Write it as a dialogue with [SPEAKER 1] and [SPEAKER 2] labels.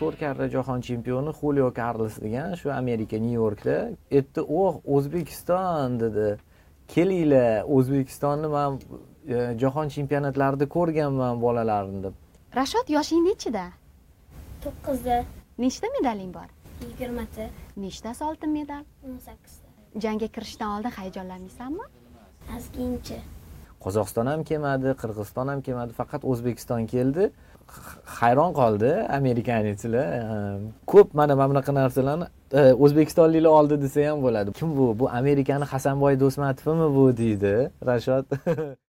[SPEAKER 1] marra jahon chempioni xulio karls degan shu amerika nyu yorkda aytdi o'h o'zbekiston dedi kelinglar o'zbekistonni man e, jahon chempionatlarida ko'rganman bolalarni deb
[SPEAKER 2] rashod yoshing nechida
[SPEAKER 3] to'qqizda
[SPEAKER 2] nechta medaling bor
[SPEAKER 3] yigirmata
[SPEAKER 2] nechtasi oltin medal
[SPEAKER 3] o'n sakkizta
[SPEAKER 2] jangga kirishdan oldin hayajonlanmaysanmi
[SPEAKER 3] ozgincha
[SPEAKER 1] qozog'iston ham kelmadi qirg'iziston ham kelmadi faqat o'zbekiston keldi X- hayron qoldi amerikanichlar Ehm, ko'p mana mana bunaqa narsalarni e, o'zbekistonliklar oldi desa ham bo'ladi kim bu bu amerikani hasanboy do'stmatovimi bu deydi rashod